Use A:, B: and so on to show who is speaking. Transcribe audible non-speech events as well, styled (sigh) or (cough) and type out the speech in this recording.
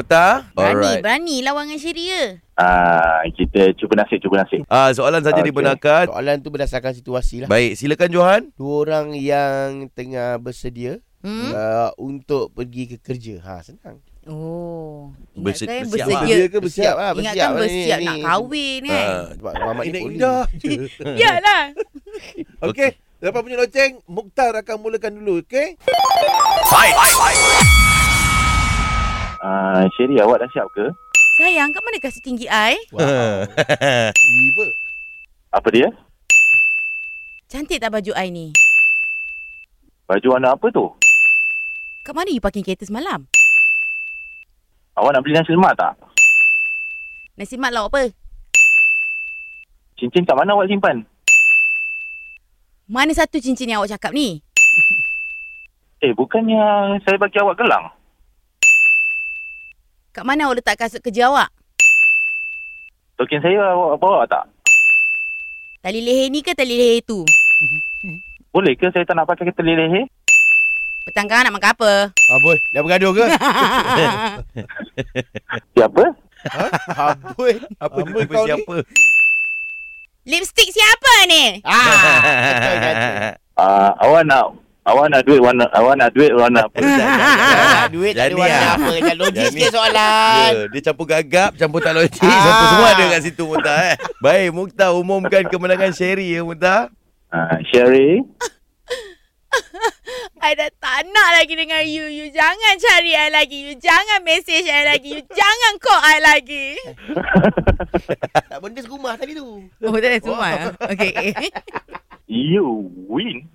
A: Muta?
B: Berani, berani lawan dengan Syeria.
C: Ah, kita cuba nasib, cuba nasib.
A: Ah, soalan saja
C: Okey.
A: dibenarkan.
D: Soalan tu berdasarkan situasi lah.
A: Baik, silakan Johan.
D: Dua orang yang tengah bersedia hmm?
B: Hmm?
D: uh, untuk pergi ke kerja. Ha, senang.
B: Oh.
A: Berse- bersiap
B: Ingatkan bersedia.
D: Bersedia ke bersiap lah, bersiap
B: Ingatkan
D: lah ni,
B: bersiap
D: ni. Ha.
B: nak kahwin kan.
A: Ah.
D: Sebab Muhammad ni
E: Indah
D: poli.
E: indah.
B: Yalah.
A: Okey.
E: (laughs) Okey. Dapat punya loceng, Mukhtar akan mulakan dulu, okey?
C: Ah, Sherry, awak dah siap ke?
B: Sayang, kat mana kasih tinggi I?
D: Wow.
E: Tiba.
C: Apa dia?
B: Cantik tak baju I ni?
C: Baju warna apa tu?
B: Kat mana you parking kereta semalam?
C: Awak nak beli nasi lemak tak?
B: Nasi mak lauk apa?
C: Cincin kat mana awak simpan?
B: Mana satu cincin yang awak cakap ni?
C: Eh, bukannya saya bagi awak gelang?
B: Kat mana awak letak kasut kerja awak?
C: Token saya awak bawa tak?
B: Tali leher ni ke tali leher tu?
C: Boleh ke saya tak nak pakai tali leher?
B: Petang kan nak makan apa? (laughs)
D: Aboy, dah bergaduh
E: (laughs)
D: ke?
C: Siapa?
D: Aboy.
E: Apa jumpa kau ni?
A: siapa? (laughs)
B: Lipstick siapa ni?
D: Ah, betul
E: (laughs)
D: kata.
C: Ah, awak nak awak nak duit warna awak nak duit warna apa?
D: Ah, duit tak ada
A: Jadi,
D: warna
A: ah.
D: apa. Jangan logik
A: Jadi.
D: sikit soalan.
A: Ya, dia campur gagap, campur tak logik,
D: Ah.
A: campur semua ada kat situ Muta eh. Baik, Muta umumkan kemenangan Sherry ya Muta.
C: Ah, Sherry,
B: I dah tak nak lagi dengan you. You jangan cari I lagi. You jangan message I lagi. You jangan call I lagi.
D: Tak benda serumah tadi tu.
B: Oh, tak ada semua. Okay.
C: you win.